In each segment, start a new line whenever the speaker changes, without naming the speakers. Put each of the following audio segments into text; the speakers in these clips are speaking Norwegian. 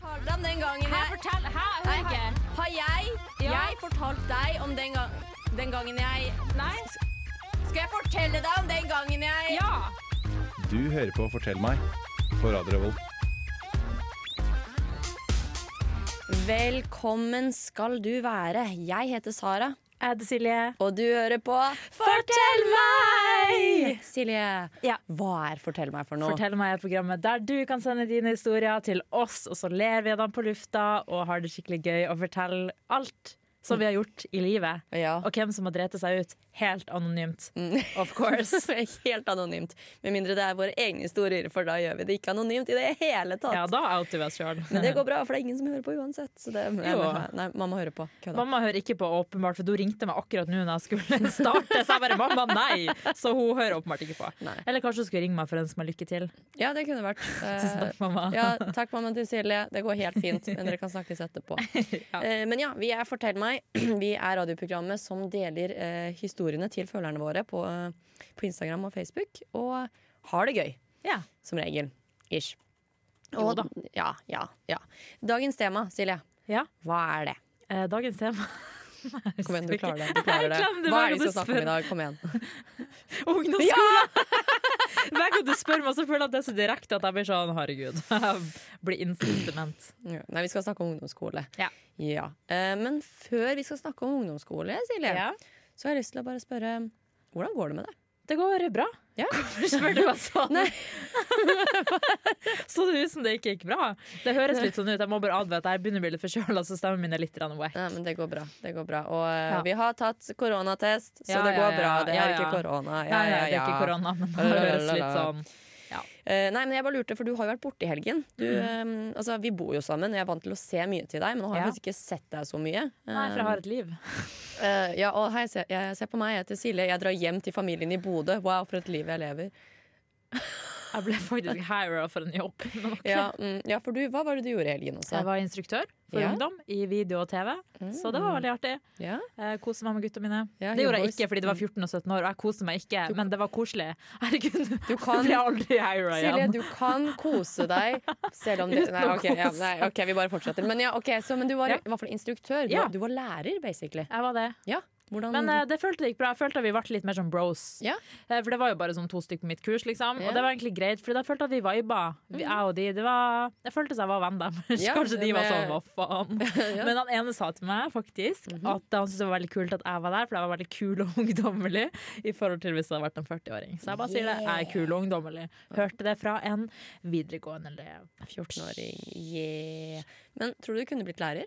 Harland den gangen
Hæ,
jeg
fortell! Hæ, jeg
Nei,
hører ikke.
Har jeg,
Ja.
jeg fortalt deg om den, gang, den gangen jeg
Nei?
Skal jeg fortelle deg om den gangen jeg
Ja!
Du hører på Fortell meg på Radio Revolt.
Velkommen skal du være. Jeg heter Sara,
Jeg heter Silje.
og du hører på
Fortell meg!
Silje,
Ja.
hva er Fortell meg for noe?
Fortell meg i programmet der du kan sende dine historier til oss, og så ler vi av dem på lufta og har det skikkelig gøy og forteller alt som vi har gjort i livet.
Ja. Mm.
Og hvem som har drept seg ut. Helt anonymt. Of course.
Helt anonymt. Med mindre det er våre egne historier, for da gjør vi det ikke anonymt i det hele tatt.
Ja, da outer vi oss sjøl.
Men det går bra, for det er ingen som hører på uansett. Så det, nei,
Jo.
men- nei, mamma hører på. Kødda.
Mamma hører ikke på, åpenbart, for hun ringte meg akkurat nå når jeg skulle starte. Så jeg bare 'mamma, nei'! Så hun hører åpenbart ikke på.
Nei.
Eller kanskje hun skulle ringe meg for å ønske meg lykke til.
Ja, det kunne vært. Eh,
Tusen takk, mamma.
Ja, takk, mamma til Silje. Det går helt fint, men dere kan snakkes etterpå.
Ja.
Eh, Men ja, vi er Fortell meg. Vi er radioprogrammet som deler eh, historiene til følgerne våre på, eh, på Instagram og Facebook, og har det gøy,
Ja.
som regel. Ish.
Jo da.
Ja, ja, ja. Dagens tema, Silje.
ja.
Hva er det?
Eh, Dagens tema
Kom igjen, du
husker
klarer det.
ikke.
Du klarer
Jeg glemte
det. Hva
hver
er det vi
gang
skal snakke
du
om
spør.
i dag? Kom igjen.
Ungdomsskolen! Hver gang du spør meg, så føler jeg at det er så direkte at jeg blir sånn herregud. Jeg blir instantment.
Ja. Nei, vi skal snakke om ungdomsskole.
Ja.
Eh, Men før vi skal snakke om ungdomsskole, Silje,
Ja.
så har jeg lyst til å bare spørre hvordan går det med deg?
Det går bra.
Ja.
Hvorfor spør du meg sånn?
Nei.
så det ut som det ikke gikk bra? Det høres litt sånn ut. Jeg må bare advare. Jeg begynner å bli litt forkjøla, så stemmen min er litt grann wack.
Nei, men det går bra. Det går bra. Og eh,
Ja.
vi har tatt koronatest, så
Ja,
det går
ja, ja.
bra. Det
Ja,
er
ja.
ikke korona. Ja,
Nei, nei,
ja,
det er
ja.
ikke korona, men det høres litt sånn
Eh, nei, men jeg bare lurte, for du har jo vært borte i helgen. Du, eh, altså, vi bor jo sammen, og jeg er vant til å se mye til deg, men nå har jeg
Ja.
faktisk ikke sett deg så mye.
Nei, for jeg har et liv.
Eh, ja, og hei, se, jeg, se på meg, jeg heter Silje. Jeg drar hjem til familien i Bodø. Wow, for et liv jeg lever.
Jeg ble faktisk hira for en jobb. Men ok.
Ja, mm, ja for du, hva var det du gjorde i helgen også?
Jeg var instruktør for
Ja.
ungdom i video og TV, så det var veldig artig.
Ja?
Eh, Kose meg med gutta mine.
Ja,
det gjorde jeg
Youngboys.
ikke fordi det var 14 og 17 år, og jeg koste meg ikke, men det var koselig. Herregud, du
kan-
blir aldri hira
Silje,
igjen.
du kan kose deg selv om det
Uten
nei,
å
ok, ja,
kose.
nei, OK, vi bare fortsetter. Men, ja, ok, så, men du var
Ja.
i hvert fall instruktør. Du,
Ja.
var- du var lærer, basically.
Jeg var det.
Ja, hvordan
Men eh, det følte det gikk bra. Jeg følte at vi ble litt mer som bros.
Ja.
Eh, for det var jo bare sånn to stykker på mitt kurs, liksom.
Ja. Mhm.
Og det var egentlig greit, for jeg følte at vi viba, vi, jeg og de. Det var, jeg følte jeg var venn deres.
Ja,
Kanskje de var
men-
sånn, hva faen. Men han ene sa til meg faktisk
Mhm.
at han syntes det var veldig kult at jeg var der, for jeg var veldig kul og ungdommelig i forhold til hvis jeg hadde vært en 40-åring. Så jeg bare sier det. Jeg er kul og ungdommelig. Hørte det fra en videregående elev.
14-åring, yeah. Men tror du du kunne blitt lærer?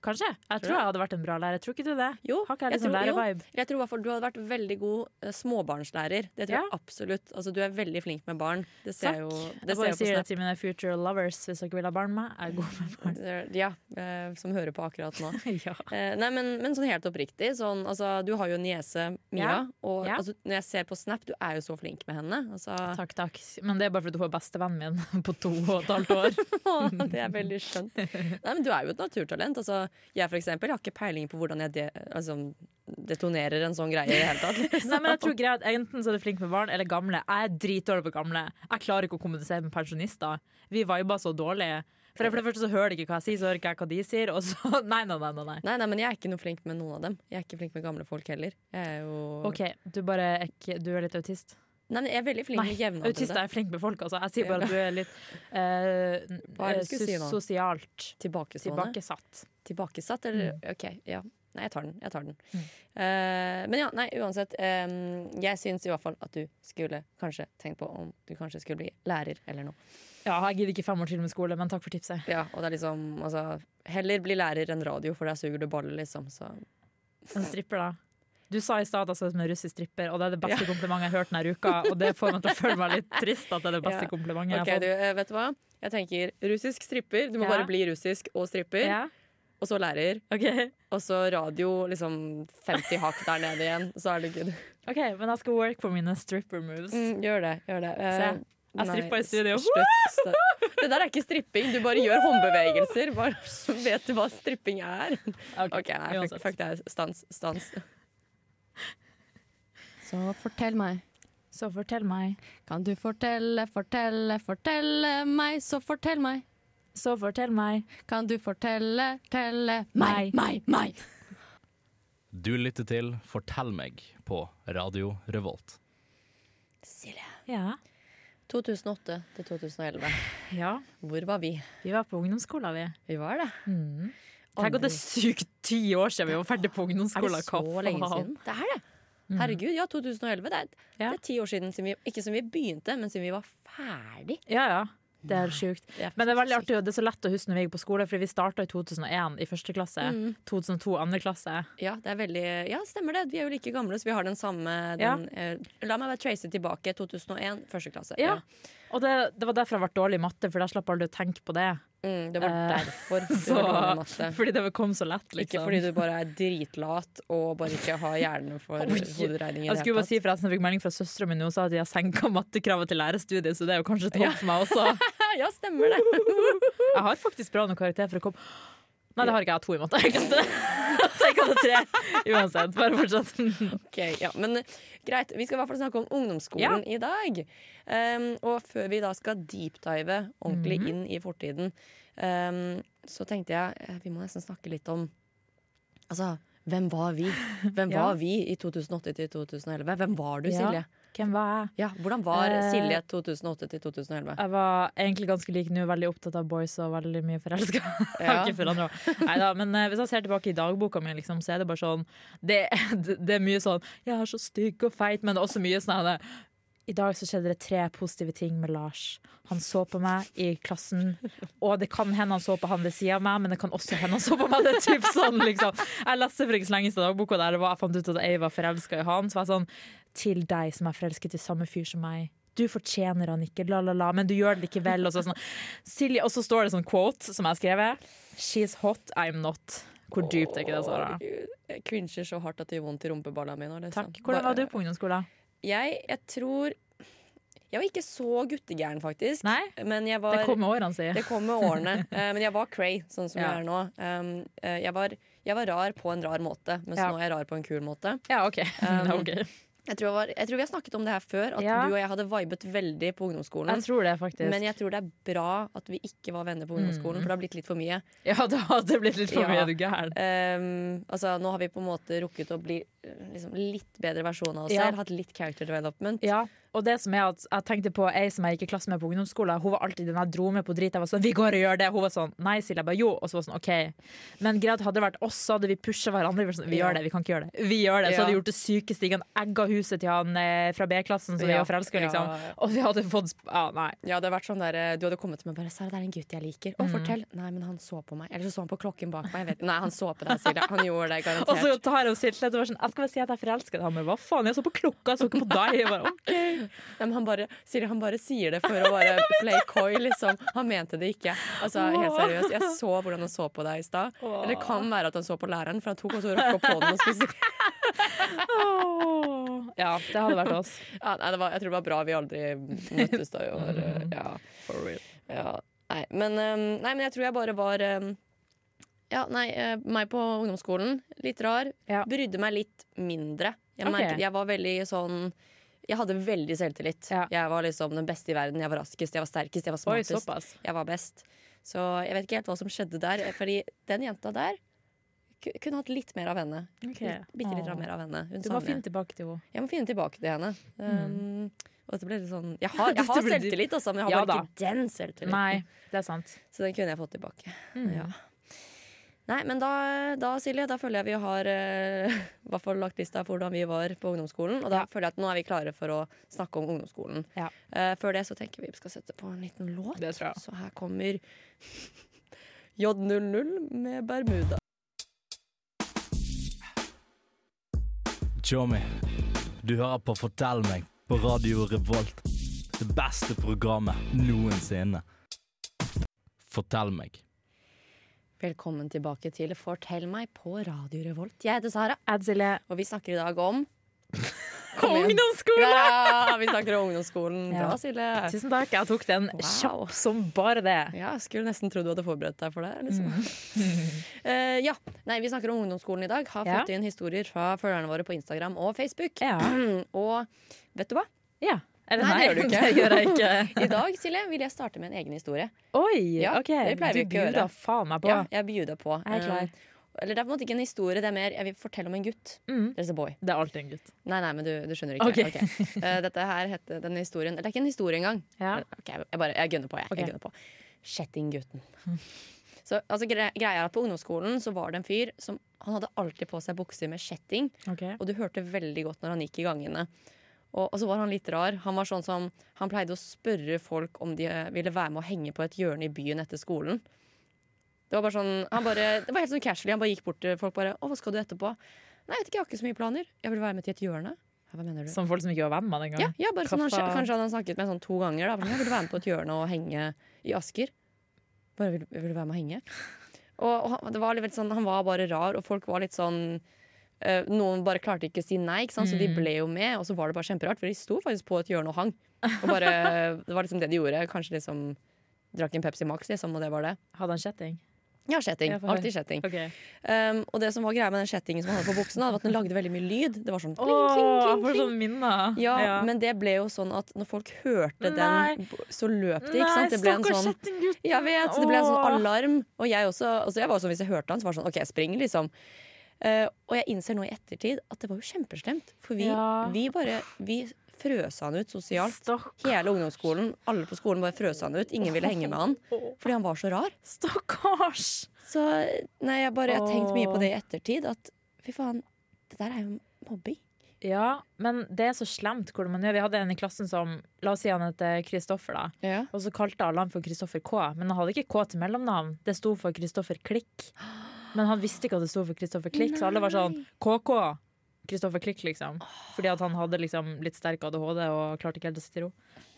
Kanskje. Jeg tror jeg hadde vært en bra lærer. Tror ikke du det?
Jo,
Har ikke jeg litt sånn
jo.
lærervibe?
Jeg tror i hvert fall du hadde vært veldig god eh, småbarnslærer. Det tror
Ja.
jeg absolutt. Altså, du er veldig flink med barn. Det ser
Takk.
jo
Jeg
det ser
bare
jeg på
sier det
Snap.
til mine future lovers hvis dere vil ha barn med meg. Jeg er god med barn.
Det er- Ja, eh, som hører på akkurat nå.
ja.
Eh, nei, men, men sånn helt oppriktig. Sånn, altså, du har jo en niese, Mia.
Ja,
Og
ja.
altså, når jeg ser på Snap, du er jo så flink med henne. Altså,
Takk, takk. Men det er bare fordi hun er bestevennen min på to og et halvt år.
det er veldig skjønt. Nei, men du er jo et naturtalent. Altså, jeg for eksempel har ikke peiling på hvordan jeg de, altså, detonerer en sånn greie i det hele tatt.
Nei, men jeg tror greit, Enten så er du flink med barn eller gamle. Jeg er dritdårlig på gamle. Jeg klarer ikke å kommunisere med pensjonister. Vi viber så dårlig. For, for det første så hører de ikke hva jeg sier, så hører ikke jeg hva de sier. Og så Nei, nei, nei. nei, nei.
Nei, nei, men jeg er ikke noe flink med noen av dem. Jeg er ikke flink med gamle folk heller. Jeg er jo
OK, du, bare er ikke, du er litt autist?
Nei, men jeg er veldig flink
Nei,
med jevnaldrende.
autister er flink med folk, altså. Jeg sier bare at du er litt
Hva er
eh,
det du skulle si nå?
sosialt
Tilbakestående.
tilbakesatt.
Tilbakesatt, eller
Mm.
OK, ja. Nei, jeg tar den. Jeg tar den. Eh, men ja, nei, uansett. eh, jeg syns i hvert fall at du skulle kanskje tenkt på om du kanskje skulle bli lærer eller noe.
Ja, jeg gidder ikke fem år til med skole, men takk for tipset.
Ja, og det er liksom altså, Heller bli lærer enn radio, for der suger du baller, liksom. Så
En stripper, da. Du sa i stad at jeg så ut som en russisk stripper, og det er det beste komplimentet jeg har hørt denne uka. Og det får meg til å føle meg litt trist at det er det beste
Ja.
komplimentet jeg
OK,
har
du,
fått.
eh, vet du hva? Jeg tenker russisk stripper. Du må
Ja.
bare bli russisk og stripper.
Ja?
Og så lærer.
ok.
Og så radio liksom 50 hakk der nede igjen. Så er det good.
OK, men jeg skal work på mine stripper moves.
Mm, gjør det. gjør det Eh,
Se, jeg
nei,
strippa i studio.
Slutt. slutt. Det der er ikke stripping. Du bare gjør håndbevegelser. Bare så vet du hva stripping er. OK, nei, fuck,
uansett.
fuck det. Stans. Stans.
Så fortell meg.
Så fortell meg.
Kan du fortelle, fortelle, fortelle meg, så fortell meg.
så fortell meg.
Kan du fortelle, telle meg, meg, meg?
Du lytter til Fortell meg på Radio Revolt.
Silje.
Ja.
2008 til 2011.
ja.
Hvor var vi?
Vi var på ungdomsskolen, vi.
Vi var det.
Mm. Tenk at det er sykt ti år siden vi var ferdig på
Er
ungdomsskolen.
det så
Hva
lenge
faen? Mm.
siden? Det er det. Herregud, ja, 2011. Det er, det
Ja.
er ti år siden. Siden vi, ikke siden vi begynte, men siden vi var ferdig.
Ja, ja. Det er sjukt.
Det er
Men det er veldig
faktisk
artig, og det er så lett å huske når vi gikk på skole, fordi vi starta i 2001 i første klasse. 2002 andre klasse.
Ja, det er veldig, ja, stemmer det. Vi er jo like gamle, så vi har den samme den, eh, La meg bare trace tilbake. 2001, første klasse.
Ja. Og det, det var derfor jeg ble dårlig i matte, for da slapp jeg aldri å tenke på det.
Mm, det var
Eh,
derfor du
Så,
var dårlig i matte.
fordi det kom så lett, liksom.
Ikke fordi du bare er dritlat og bare ikke har hjernen for hoderegning. i
jeg
det hele
skulle bare
tatt.
si forresten, jeg fikk melding fra søstera mi nå og sa at de har senka mattekravet til lærerstudiet, så det er jo kanskje et håp for meg også.
ja, stemmer det.
Jeg har faktisk bra nok karakter for å komme Nei, det har ikke jeg. Jeg har to i matte. Jeg glemte det. Så jeg kan ha tre uansett. Bare fortsett.
Ok, ja, men eh, greit. Vi skal i hvert fall snakke om ungdomsskolen i dag. Um, og før vi da skal deepdive ordentlig
Mhm.
inn i fortiden, um, så tenkte jeg eh, vi må nesten snakke litt om Altså, hvem var vi? Hvem
Ja.
var vi i 2008 til 2011? Hvem var du,
Ja.
Silje?
Hvem var jeg?
Ja, Hvordan var
Eh,
Silje 2008 til 2011?
Jeg var egentlig ganske lik nå, veldig opptatt av boys og veldig mye forelska.
Ja.
Neida, men eh, hvis jeg ser tilbake i dagboka mi, liksom, så er det bare sånn det, det er mye sånn 'jeg er så stygg og feit', men også mye sånn her, I dag så skjedde det tre positive ting med Lars. Han så på meg i klassen, og det kan hende han så på han ved sida av meg, men det kan også hende han så på meg. Det er typ sånn, liksom. Jeg leste for ikke så lenge siden dagboka der det var, jeg fant ut at jeg var forelska i han. Så var jeg sånn Til deg som er forelsket i samme fyr som meg. Du fortjener han ikke, la, la, la, men du gjør det likevel. Og så, sånn, Silje, og så står det sånn quote som jeg har skrevet. She's hot, I'm not. Hvor dypt er ikke det
Å,
svaret?
Gud, Jeg crincher så hardt at det gjør vondt i rumpeballa mi. nå, liksom.
Takk. Hvordan var du
Bare-
på ungdomsskolen?
Jeg, jeg tror Jeg var ikke så guttegæren, faktisk.
Nei?
Men jeg var
Det kom med årene, sier jeg.
Det kom med årene. Eh, men jeg var cray, sånn som
Ja.
jeg er nå. Um, eh, jeg, var, jeg var rar på en rar måte, mens
Ja.
nå er jeg rar på en kul måte.
Ja, OK.
Um,
Ok.
Jeg tror, jeg, var, jeg tror vi har snakket om det her før, at
Ja.
du og jeg hadde vibet veldig på
Jeg
ungdomsskolen.
tror det, faktisk.
men jeg tror det er bra at vi ikke var venner på
Mm.
ungdomsskolen, for det har blitt litt for mye.
Ja, det hadde blitt litt for
Ja.
mye, du gæren.
Um, altså, nå har vi på en måte rukket å bli eh, liksom, litt bedre versjon av oss
Ja.
selv. Hatt litt character development.
Ja, og det som er at jeg tenkte på ei som jeg gikk i klasse med på ungdomsskolen. Hun var alltid den jeg dro med på drit. Jeg var sånn, vi går og gjør det. Hun var sånn, nei, Silje. Jeg bare jo. Og så var hun sånn, OK. Men greit, hadde det vært oss, så hadde vi pusha hverandre. Vi, var sånn, vi
Ja.
gjør det, vi kan ikke gjøre det. Vi gjør det. Så
Ja.
hadde vi gjort det sykeste. Ikke han egga huset til han eh, fra B-klassen som vi
Ja.
var forelska i, liksom.
Ja.
Og vi hadde fått sp- Ja, nei.
Ja, det hadde vært sånn der, eh, Du hadde kommet til meg og bare 'Sara, det er en gutt jeg liker.'
Mm.
Å, fortell. Nei, men han så på meg. Eller så så han på klokken bak meg. Jeg vet. Nei, han så på deg, Silje. Han gjorde det, garantert.
Og så tar jeg opp Silje og var sånn, jeg skal bare si at jeg er forelska i ham, men hva faen? Jeg så på klokka, jeg så ikke på deg. Jeg bare, «Å».
Nei, men han, bare, Silje, han bare sier det for å bare play coy, liksom. Han mente det ikke. Altså, Helt seriøst, jeg så hvordan han så på deg i stad. Eller det kan være at han så på læreren, for han tok også og rocka på den. Og skulle si-
Åh. Ja, det hadde vært oss.
ja, nei, det var, jeg tror det var bra vi aldri møttes da i år. eh, Ja.
For real.
ja. Nei, men, ehm, nei, men jeg tror jeg bare var ehm, Ja, nei, eh, meg på ungdomsskolen. Litt rar.
Ja.
Brydde meg litt mindre. Jeg,
Ok.
merket, jeg var veldig sånn Jeg hadde veldig selvtillit.
Ja.
Jeg var liksom den beste i verden. Jeg var raskest, jeg var sterkest, jeg var
Oi,
smartest.
såpass.
Jeg var best. Så jeg vet ikke helt hva som skjedde der. eh, Fordi den jenta der ku- kunne hatt litt mer av henne.
Okay.
Bitte litt
Åh.
mer av henne. Hun
Du
savner
må
jeg.
finne tilbake til henne.
Jeg må finne tilbake til henne. Um, og dette ble litt sånn Jeg har, jeg
Mm. Dette
har
ble dypt.
selvtillit, altså, men jeg har
Ja
bare ikke den selvtilliten.
Nei, Mm. det er sant.
Så den kunne jeg fått tilbake. Ja. Nei, men da, da Silje, da føler jeg vi har eh, i hvert fall lagt lista for hvordan vi var på ungdomsskolen. Og da
Ja.
føler jeg at nå er vi klare for å snakke om ungdomsskolen.
Ja.
Eh, før det så tenker vi vi skal sette på en liten låt.
Det tror jeg.
Så her kommer J00 med Bermuda.
Tjommi, du hører på Fortell meg på Radio Revolt. Det beste programmet noensinne. Fortell meg.
Velkommen tilbake til Fortell meg på Radio Revolt. Jeg heter Sara,
Adzile.
og vi snakker i dag om Kom igjen.
Ungdomsskole!
Ja, vi snakker om ungdomsskolen.
Ja.
Bra, Silje.
Tusen takk. Jeg tok den
Wow.
kjapp som bare det.
Ja, jeg skulle nesten tro du hadde forberedt deg for det. Liksom. Eh, ja, nei, Vi snakker om ungdomsskolen i dag. Har
Mm. Ja.
fått inn historier fra følgerne våre på Instagram Mm, og Facebook.
Ja.
Og vet du hva?
ja. Eller
Nei, det gjør du ikke.
det gjør jeg ikke.
I dag Silje, vil jeg starte med en egen historie.
Oi,
Ja,
ok.
det pleier
Du
vi ikke å gjøre.
bjuda faen meg på.
Ja, jeg bjuder på.
Jeg er klar.
Eh, Eller det er på en måte ikke en historie, det er mer jeg vil fortelle om en gutt.
Mm.
There's a boy.
Det er alltid en gutt.
Nei, nei, men du, du skjønner ikke.
Ok.
Ok. Eh, dette her heter denne historien Det er ikke en historie engang. Eh,
Ja.
Ok, jeg bare, jeg gønner på, jeg.
Ok.
jeg gønner på. Kjettinggutten. Så altså, gre greia er at På ungdomsskolen så var det en fyr som han hadde alltid på seg bukser med kjetting. Og du hørte veldig godt når han gikk i gangene. Og, og så var han litt rar. Han var sånn som, han pleide å spørre folk om de eh, ville være med å henge på et hjørne i byen etter skolen. Det var bare sånn, han bare, det var helt sånn casually. Han bare gikk bort til folk bare 'Å, hva skal du etterpå?' 'Nei, jeg vet ikke, jeg har ikke så mye planer. Jeg vil være med til et hjørne.' Ja, Hva mener du?
Som folk som ikke var venn med den
Ja,
gangen.
ja bare sånn, han,
Kaffa-
Kanskje han hadde snakket med sånn to ganger. Da. Bare sånn, Jeg ville være med på et hjørne og henge i Asker. Bare vil, vil du være med og henge? Og, og han, det var litt sånn, han var bare rar, og folk var litt sånn eh, Noen bare klarte ikke å si nei, ikke sant? så
Mm.
de ble jo med. Og så var det bare kjemperart, for de sto faktisk på et hjørne og hang. Og bare, Det var liksom det de gjorde. Kanskje liksom drakk en Pepsi Max, liksom, og det var det.
Hadde han kjetting?
Ja, kjetting.
Ja, for-
Alltid kjetting.
Ok.
Um, og det som var greia med den kjettingen som han hadde på buksene, var at den lagde veldig mye lyd. Det var sånn kling,
Åh,
kling,
jeg
kling,
får
kling.
sånn minner.
Ja, men det ble jo sånn at når folk hørte
Nei.
den, b- så løp de. ikke sant? Det ble en
stakkars
sånn
kjettinggutt.
jeg vet, så Det ble en
Åh.
sånn alarm. Og jeg også, altså jeg var jo sånn, hvis jeg hørte han, så var det sånn OK, jeg springer, liksom. Eh, og jeg innser nå i ettertid at det var jo kjempeslemt. For vi,
Ja.
vi bare Vi frøs han ut sosialt.
Stakk-
Hele ungdomsskolen, alle på skolen bare frøs han ut. Ingen ville henge med han
Åh,
fordi han var så rar.
Stakkars!
Så nei, jeg bare jeg har tenkt mye på
Åh.
det i ettertid. At fy faen, det der er jo mobbing.
Ja, men det er så slemt hvordan man gjør. Vi hadde en i klassen som La oss si han heter Kristoffer, da.
Ja.
Og så kalte alle han for Kristoffer K, men han hadde ikke K til mellomnavn. Det sto for Kristoffer Klikk. Men han visste ikke at det sto for Kristoffer Klikk, så alle var sånn KK. Kristoffer Klikk, liksom. Fordi at han hadde liksom litt sterk ADHD og klarte ikke helt å sitte i ro.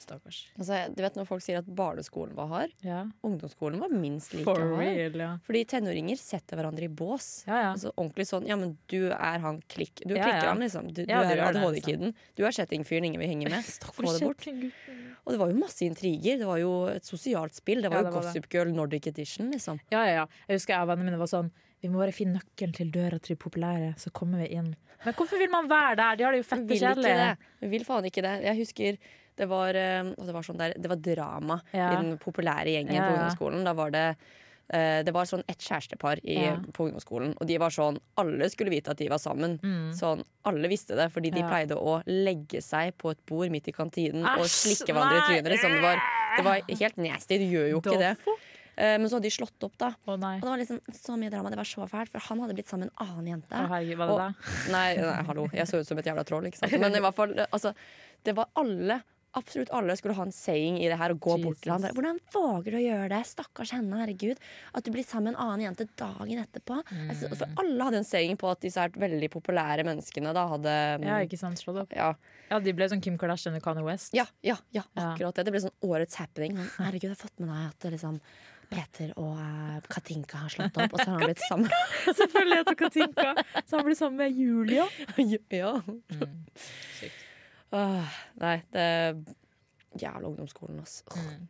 Stakkars.
Altså, du vet når folk sier at barneskolen var hard?
Ja.
ungdomsskolen var minst like
For
hard.
real, ja.
Fordi tenåringer setter hverandre i bås.
Ja, ja.
Altså ordentlig sånn, ja, men Du er han klikk Du
Ja,
klikker
ja.
han, liksom. Du,
Ja,
du er
du gjør det, altså.
ADHD-kiden. Du er kjettingfyren ingen vil henge med. Få det bort. Og det var jo masse intriger. Det var jo et sosialt spill. Det var
Ja,
jo
det var det.
Gossip Girl Nordic Edition, liksom.
Ja, ja, ja. Jeg husker jeg og vennene mine var sånn Vi må bare finne nøkkelen til døra til de populære, så kommer vi inn. Men hvorfor vil man være der? De har det jo fett
Vi
og
vil ikke
kjedelig.
det. Vi vil faen ikke det. Jeg husker det var, eh, og det var, sånn der, det var drama
Ja.
i den populære gjengen
Ja,
på
ja.
ungdomsskolen. Da var det eh, det var sånn et kjærestepar i,
Ja.
på ungdomsskolen. Og de var sånn, alle skulle vite at de var sammen. Sånn, alle visste det, fordi de
Mm. Ja.
pleide å legge seg på et bord midt i kantinen og
Æsj,
slikke hverandre i
nei.
trynet. Liksom. Det, var, det var helt nasty. Du gjør jo ikke det.
Doffo?
Eh, men så hadde de slått opp, da.
Å nei.
Og det var liksom så mye drama. Det var så fælt, for han hadde blitt sammen med en annen jente.
Å, herregud, var det
Og- Nei, nei, hallo. Jeg så ut som et jævla troll. Ikke sant? Men i hvert fall, altså, det var alle Absolutt alle skulle ha en saying i det her og gå bort til han.
Jesus.
Der. Hvordan våger du å gjøre det? Stakkars henne, herregud. At du blir sammen med en annen jente dagen etterpå. Altså,
Mm.
for alle hadde en saying på at disse her veldig populære menneskene da hadde mm,
det? Ja, ikke sant. Slå det opp.
ja,
Ja, de ble sånn Kim Kardashian og Kanye West.
ja, ja, ja, akkurat det. Det ble sånn årets happening. Sånn, herregud, jeg har fått med deg at det liksom Peter og eh, Katinka har slått opp, og så har han blitt sammen.
Selvfølgelig heter Katinka. Så han ble sammen med Julia.
ja.
Mm. sykt.
Åh, nei, det Jævla ungdomsskolen, ass. Åh.
Mm.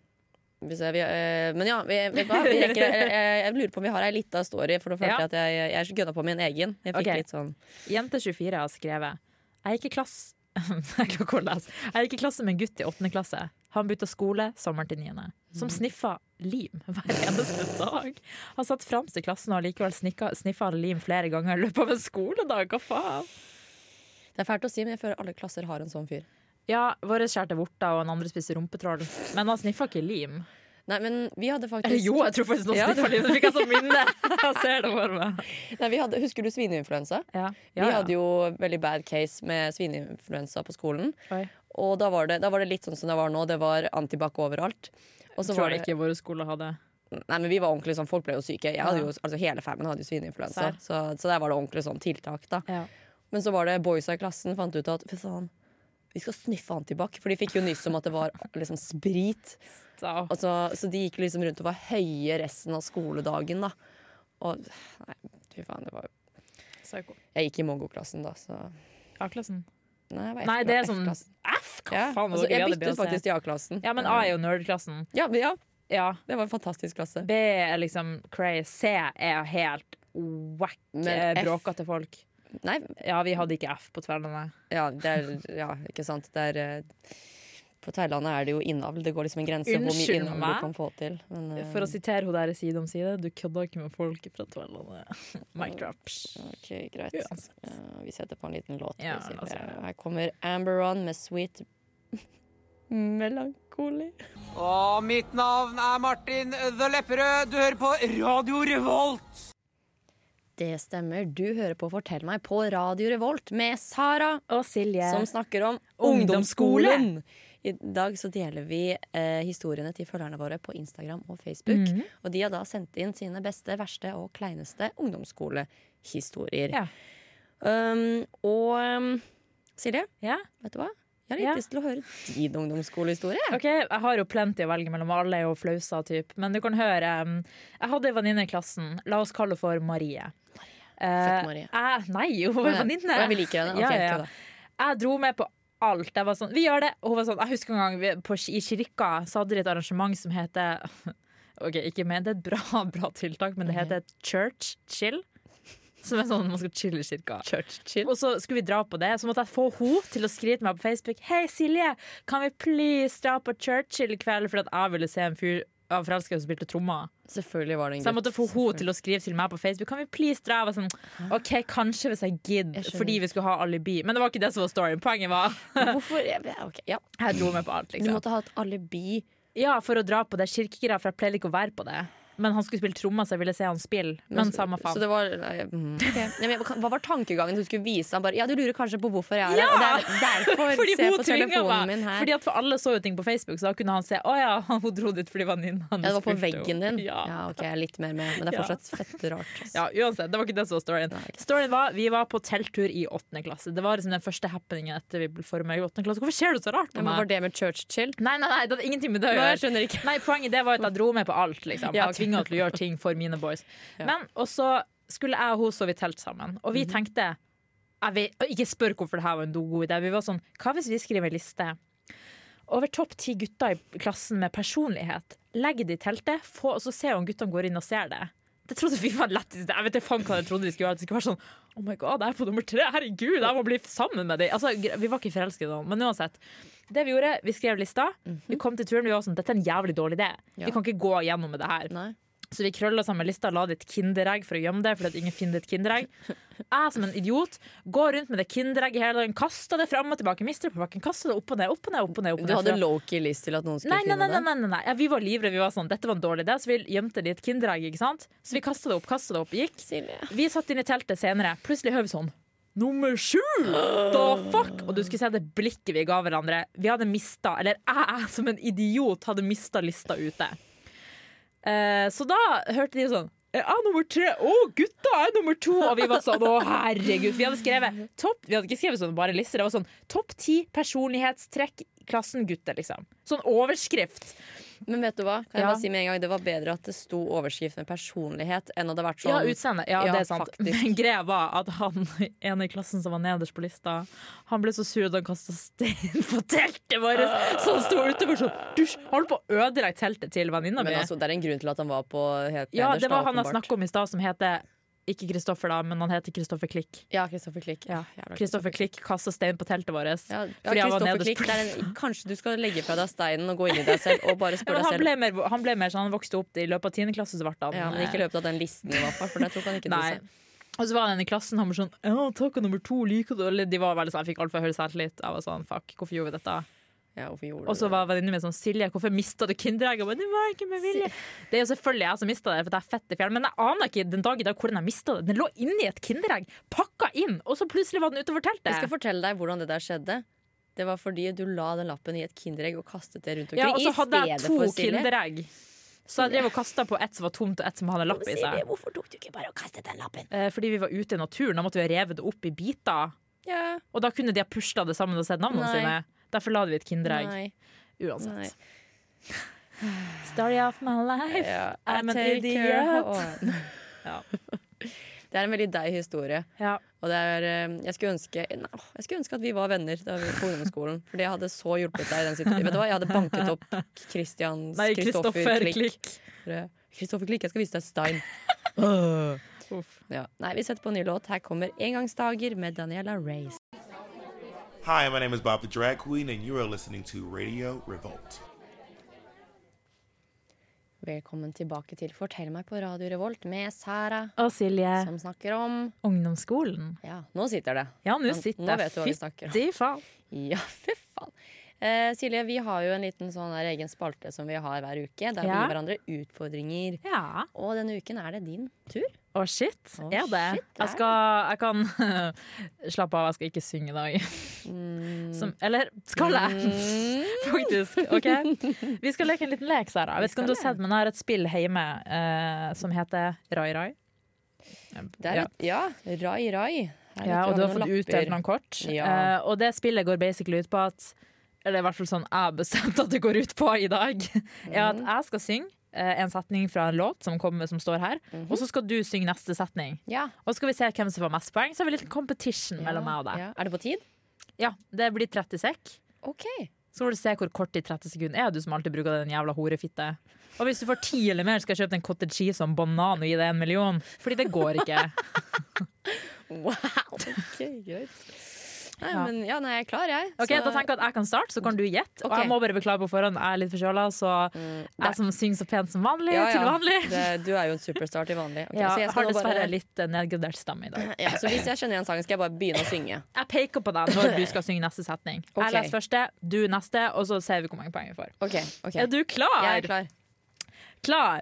Vi ser, vi, eh, men ja, vi, vet du hva? Vi rekker, jeg, jeg, jeg lurer på om vi har ei lita story, for nå følte
Ja.
jeg at jeg, jeg gønna på min egen. Jeg fikk
Ok.
litt sånn
Jente 24 har skrevet Jeg gikk i klasse Jeg klarer ikke å lese. Jeg gikk i klasse med en gutt i 8. klasse. Han bytta skole sommeren til 9. Som sniffa lim hver eneste dag. Han satt fremst i klassen og likevel snikka- sniffa han lim flere ganger i løpet av en skoledag. Hva faen?
Det er fælt å si, men jeg føler alle klasser har en sånn fyr.
Ja, vår skjærte vorter, og den andre spiste rumpetroll. Men han sniffa ikke lim.
Nei, men vi hadde
Eller
faktisk
jo, jeg tror faktisk
Ja,
han sniffa lim. Det fikk jeg som minne. Jeg ser det for meg.
nei, vi hadde, Husker du svineinfluensa?
Ja,
Vi hadde jo veldig bad case med svineinfluensa på skolen.
Oi.
Og da var, det, da var det litt sånn som det var nå. Det var antibac overalt. Og så
Tror
var
jeg
det
ikke våre skoler hadde.
Nei, men vi var ordentlig sånn, folk ble jo syke. Jeg hadde
Ja.
jo, altså Hele femmen hadde jo svineinfluensa.
Serr.
Så, så der var det ordentlig sånn tiltak, da. Men så var det boysa i klassen fant ut at fy faen, vi skal sniffe antibac. For de fikk jo nyss om at det var liksom sprit.
Så.
Og så, så de gikk liksom rundt og var høye resten av skoledagen, da. Og nei, fy faen, det var jo
Psyko.
Jeg gikk i mongoklassen da, så
A-klassen.
Nei, jeg var
Nei, det er sånn
F-klassen.
F? Hva
Ja.
faen?
Altså,
dere
jeg
hadde B og
byttet
C.
faktisk til A-klassen.
Ja, men A er jo nerdklassen.
ja, men ja,
Ja.
det var en fantastisk klasse.
B er liksom crazy. C er helt wack,
Men
eh,
F-
bråkete folk.
Nei,
Ja, vi hadde ikke F på tvellene.
ja, det er Ja, ikke sant. Det er eh, På Thailand er det jo innavl. Det går liksom en grense for hvor mye
Unnskyld
innavl
meg.
du kan få til. Men, eh,
For å sitere hun der side om side, du kødder ikke med folk fra Tverlandet. Mic drop.
ok, greit.
Uansett.
Eh, vi setter på en liten låt.
altså. Ja, altså.
vi sier
la oss
det. sånn.
gjøre det.
Her kommer Amberon med Sweet Melancholy.
Og mitt navn er Martin The Lepperød. Du hører på Radio Revolt.
Det stemmer. Du hører på Fortell meg på Radio Revolt med Sara,
Og Silje.
som snakker om
Ungdomsskole.
ungdomsskolen. I dag så deler vi eh, historiene til følgerne våre på Instagram og Facebook.
Mhm.
Og de har da sendt inn sine beste, verste og kleineste ungdomsskolehistorier.
Ja.
Um, og um, Silje,
ja.
vet du hva? Jeg har litt
Ja.
lyst til å høre din ungdomsskolehistorie.
Ok, Jeg har jo plenty å velge mellom, alle er jo flausa, typ. men du kan høre um, Jeg hadde ei venninne i klassen, la oss kalle henne for Marie.
Født Marie.
Eh, jeg, nei, hun var
Å, ja.
venninne!
Å, ja, vi liker henne. Ok,
Ja, ja, ja.
kul da.
Jeg dro med på alt. Jeg var sånn, vi gjør det! Og Hun var sånn, jeg husker en gang vi, på, i kirka så hadde de et arrangement som heter Ok, ikke men det er et bra, bra tiltak, men det heter Church Chill. Som er sånn man skal chille i kirka. Og så skulle vi dra på det, så måtte jeg få henne til å skrive til meg på Facebook. Hei Silje, kan vi please dra på Churchill i kveld? Fordi at jeg ville se en fyr av forelska som spilte trommer.
Selvfølgelig var det en
Så jeg måtte få henne til å skrive til meg på Facebook. Kan vi please dra? Jeg var sånn, OK, kanskje hvis
Ah.
jeg
Jeg
gidder,
skjønner.
fordi vi skulle ha alibi. Men det var ikke det som var storyen. Poenget var
Hvorfor? Ja, ok, ja.
jeg dro med på alt,
Du
liksom.
måtte ha et alibi.
Ja, for å dra på det kirkegreia, for jeg pleide ikke å være på det. Men han skulle spille trommer, så jeg ville se han spille. Men samme
Så
faen.
det var, nei, mm, ok. Nei, men hva var tankegangen du skulle vise ham? Bare, ja, du lurer kanskje på hvorfor jeg er her. Og det er derfor
Fordi
se
hun
på
tvinga
telefonen
meg!
min her.
Fordi at for alle så jo ting på Facebook, så da kunne han se Å ja, hun dro dit fordi venninnen hans
ja, det var på
spurte
veggen
henne.»
din.
Ja.
Ja, ok, jeg er litt mer med, men det er
Ja.
fortsatt fett rart. ass.
Ja, uansett, det var ikke det som var storyen. Storyen var, Vi var på telttur i åttende klasse. Det var liksom den første happeningen etter vi ble formet i åttende klasse. Hvorfor ser du så rart
Ja,
på
men var
meg?
det med church chill?
Nei, nei, nei, det hadde ingenting med det å
Nei,
gjøre.
jeg skjønner ikke.
Nei, Poenget det var at jeg dro med på alt. liksom
Ja,
Jeg
ok.
tvinga til å gjøre ting for mine boys. Men, Og så skulle jeg og hun sove i telt sammen, og
Mhm.
vi tenkte jeg vet, og Ikke spør hvorfor det her var en do- god idé. Vi var sånn, Hva hvis vi skriver en liste over topp ti gutter i klassen med personlighet? Legg det i teltet, få, og så ser vi om guttene går inn og ser det. Det trodde vi var lettest. Jeg vet ikke faen hva jeg trodde de skulle gjøre. Det skulle være sånn Oh my god, jeg er på nummer tre! Herregud, jeg må bli sammen med deg! Altså, gre- vi var ikke forelsket da, men uansett. Det vi gjorde, vi skrev lista. Vi kom til turen, vi var sånn Dette er en jævlig dårlig idé.
Mhm. Ja.
Vi kan ikke gå gjennom med det her.
Nei.
Så vi krølla sammen lista og la det i et kinderegg for å gjemme det. Fordi at ingen finner et kinderegg Jeg som en idiot går rundt med det kinderegget hele dagen, kasta det fram og tilbake, mister det på bakken, kasta det opp og ned, opp og ned. opp og ned, opp og
Du
ned
hadde
For-
low-key lyst til at noen skulle
Nei, nei,
finne
nei, nei, nei, nei, nei. Ja, vi var livredde. Vi var sånn, dette var en dårlig idé, så vi gjemte det i et kinderegg. ikke sant? Så vi kasta det opp, kasta det opp, gikk.
Silje.
Vi satt inn i teltet senere. Plutselig hører vi sånn Nummer sju! Da fuck! Og du skulle se det blikket vi ga hverandre. Vi hadde mista, eller jeg som en idiot hadde mista lista ute. Eh, så da hørte de sånn jeg er nummer tre! Å, gutta er nummer to! Og vi var sånn, å herregud. Vi hadde skrevet topp, vi hadde ikke skrevet sånn bare lister. Det var sånn topp ti personlighetstrekk i klassen gutter, liksom. Sånn overskrift.
Men vet du hva? Kan jeg
Ja.
bare si med en gang Det var bedre at det sto overskrift med personlighet enn at det hadde vært sånn
Ja, utseende. Ja,
Ja,
det er sant.
faktisk.
Men greia var at han en i klassen som var nederst på lista, han ble så sur at han kasta stein på teltet vårt! Så han sto utenfor sånn Dusj! Han Holdt på å ødelegge teltet til venninna mi.
Men altså, det er en grunn til at han var på helt
Ja,
nederst,
det
da,
var han jeg
åpenbart.
snakka om i stad, som heter ikke Kristoffer, da, men han heter Kristoffer Klikk.
Ja, Kristoffer Klikk.
Ja,
Jævla
Kristoffer Klikk kasta stein på teltet vårt.
Ja, ja,
Fordi han var
Kristoffer
nederst
Klikk,
på
det er en, kanskje du skal legge fra deg steinen og gå inn i deg selv og bare
Ja,
spørre
men
deg
han
selv.
ble, mer, han ble mer sånn, han vokste opp i løpet av 10. klasse, så ble han eh,
Ja, men ikke i løpet av den listen, i hvert fall. For det tok han ikke til
Nei.
seg.
Og så var han en i klassen han var sånn Ja, takk, og nummer to liker du Eller de var veldig sånn Jeg fikk altfor høy selvtillit. Jeg var sånn Fuck, hvorfor gjorde vi dette?
Ja, hvorfor gjorde
Og så
du det?
var venninnen min sånn Silje, hvorfor mista du kinderegget? Jeg bare, Det var ikke med vilje. Det er jo selvfølgelig jeg som mista det, for det er fett i fjell. Men jeg aner ikke den dag i dag hvordan jeg mista det. Den lå inni et kinderegg, pakka inn, og så plutselig var den utenfor teltet.
Jeg skal fortelle deg hvordan det der skjedde. Det var fordi du la den lappen i et kinderegg og kastet det rundt omkring.
ja, og så
i
hadde jeg
stedet
to
for Silje.
kinderegg. Så jeg drev og kasta på ett som var tomt, og ett som hadde lapp i
Silje,
seg.
hvorfor tok du ikke bare og kastet den lappen?
Eh, Fordi vi var ute i naturen, da måtte vi ha revet det opp i biter.
Ja,
Og da kunne de ha pusla det sammen og sett navnene
Nei.
sine. Derfor la vi et kinderegg.
nei.
Uansett.
Nei.
Story of my life.
Ja,
I'm an
take
idiot.
care of-
Ja.
Det er en veldig deg historie.
Ja.
Og det er, eh, jeg, skulle ønske, nei, åh, jeg skulle ønske at vi var venner da vi, på ungdomsskolen. For det hadde så hjulpet deg i den situasjonen. Vet du hva, Jeg hadde banket opp Christians
Nei,
Kristoffer
Kristoffer
Klikk.
Klikk.
Kristoffer Klikk, jeg skal vise deg Stein. Ja. Nei, vi setter på en ny låt. Her kommer 'Engangsdager' med Daniela Race.
Hi, my name is Bob the Drag Queen, and you are listening to Radio Revolt.
Velkommen tilbake til Fortell meg på Radio Revolt med Særa,
Og Silje,
som snakker om
ungdomsskolen.
Ja, nå sitter det.
Ja, nå
Men
sitter
nå vet du hva vi snakker om.
Fytti faen.
Ja, fy faen. Eh, Silje, vi har jo en liten sånn der egen spalte som vi har hver uke, der vi
Ja.
gir hverandre utfordringer.
Ja.
Og denne uken er det din tur.
Å, shit.
Å,
er det?
shit, er
jeg, skal, jeg kan Slapp av, jeg skal ikke synge i dag.
Mm.
Som, eller skal jeg? Faktisk. ok Vi skal leke en liten lek, Sara. Jeg vet ikke om du har
skal
sett, men jeg har et spill hjemme eh, som heter Rai Rai.
Det er
Ja.
et, ja. rai, rai. Her
Ja,
vet
og du har
noen
fått
lapper.
utdelt noen kort.
Ja.
Eh, og det spillet går basically ut på at Eller i hvert fall sånn jeg har bestemt at det går ut på i dag. Er at jeg skal synge eh, en setning fra en låt som, kommer, som står her, og så skal du synge neste setning.
Ja.
Og så skal vi se hvem som får mest poeng. Så har vi litt competition mellom meg og deg. Ja.
Ja. Er det på tid?
Det blir 30 sek.
OK.
Så får du se hvor kort i 30 sekunder er du som alltid bruker den jævla horefitte. Og hvis du får ti eller mer, skal jeg kjøpe en cottage cheese og en banan og gi deg en million. Fordi det går ikke.
Wow. Ok, greit. Nei,
Ja.
men ja, nei, jeg er klar, jeg.
Ok,
Så- Mm.
Da tenker jeg at jeg kan starte, så kan du gjette. Og
Ok. Mm.
jeg må bare beklage på forhånd, jeg er litt forkjøla, så jeg som synger så pent som vanlig,
Ja, ja.
til vanlig.
Det, du er jo en superstar til vanlig. Ok,
Ja,
så jeg
jeg
skal
har
nå
dessverre
bare
litt eh, nedgradert stemme i dag.
ja, Så hvis jeg skjønner en sang, skal jeg bare begynne å synge.
Jeg peker på deg når du skal synge neste setning.
Ok.
Jeg leser første, du neste, og så ser vi hvor mange poeng vi får.
OK. ok
Er du klar?
Jeg er klar.
Klar,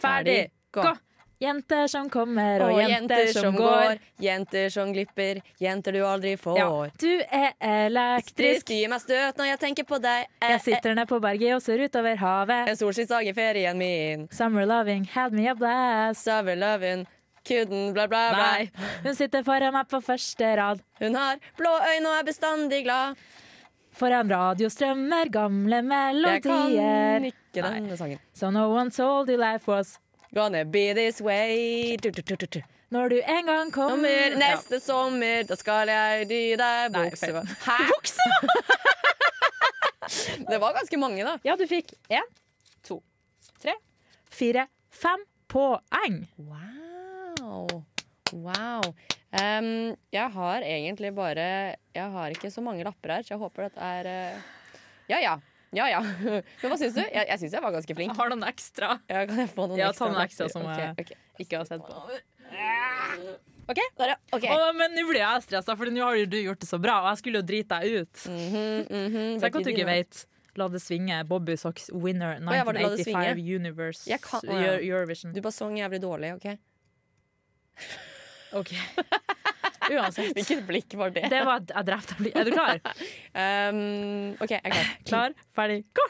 ferdig,
Ferdig, gå.
gå! Jenter som kommer, og,
Og
jenter, som går.
jenter som glipper, jenter du aldri får.
Ja. Du er elektrisk.
Drisk gir meg støt når jeg tenker på deg. Eh,
Jeg sitter ned på berget og ser utover
eh,
havet.
En solskinnsdag i ferien min.
Summer loving had me a blast.
Summer lovin', couldn't bla, bla, bla.
Nei. Hun sitter foran meg på første rad.
Hun har blå øyne og er bestandig glad.
Foran radio strømmer gamle
Jeg kan
melodier.
ikke
Nei.
denne sangen.
So no one told you life was
Gonna be this way. Du, du, du, du, du.
Når du en gang kommer
Sommer, neste sommer, da skal jeg dy deg
Nei,
buksevann. Hæ? Det var ganske mange, da.
Ja, du fikk én, to, tre, fire, fem poeng.
Wow. Wow. Em, jeg har egentlig bare Jeg har ikke så mange lapper her, så jeg håper dette er eh, Ja ja. Ja ja. Men hva syns du? Jeg, jeg syns jeg var ganske flink.
har noen ekstra.
Ja, kan jeg få noen
Ja, ta
ekstra
noen ekstra
lapper?
som,
Ok,
eh,
ok.
Ikke har sett på.
OK, der, ja. OK.
Å, men nå blir jeg stressa, for nå har jo du gjort det så bra, og jeg skulle jo drite deg ut.
Mm, Mhm,
Tenk
det
at du
er
ikke
din, da.
vet. La det svinge. Bobby Socks winner
ja, var det La det
1985 Universe
Jeg kan- å, ja.
Euro- Eurovision.
Du bare sang jævlig dårlig, OK?
OK. Uansett.
Hvilket blikk var det?
Det var Jeg drepte deg. Er du klar?
Em, Ehm, OK, jeg er klar.
Klar, ferdig, gå!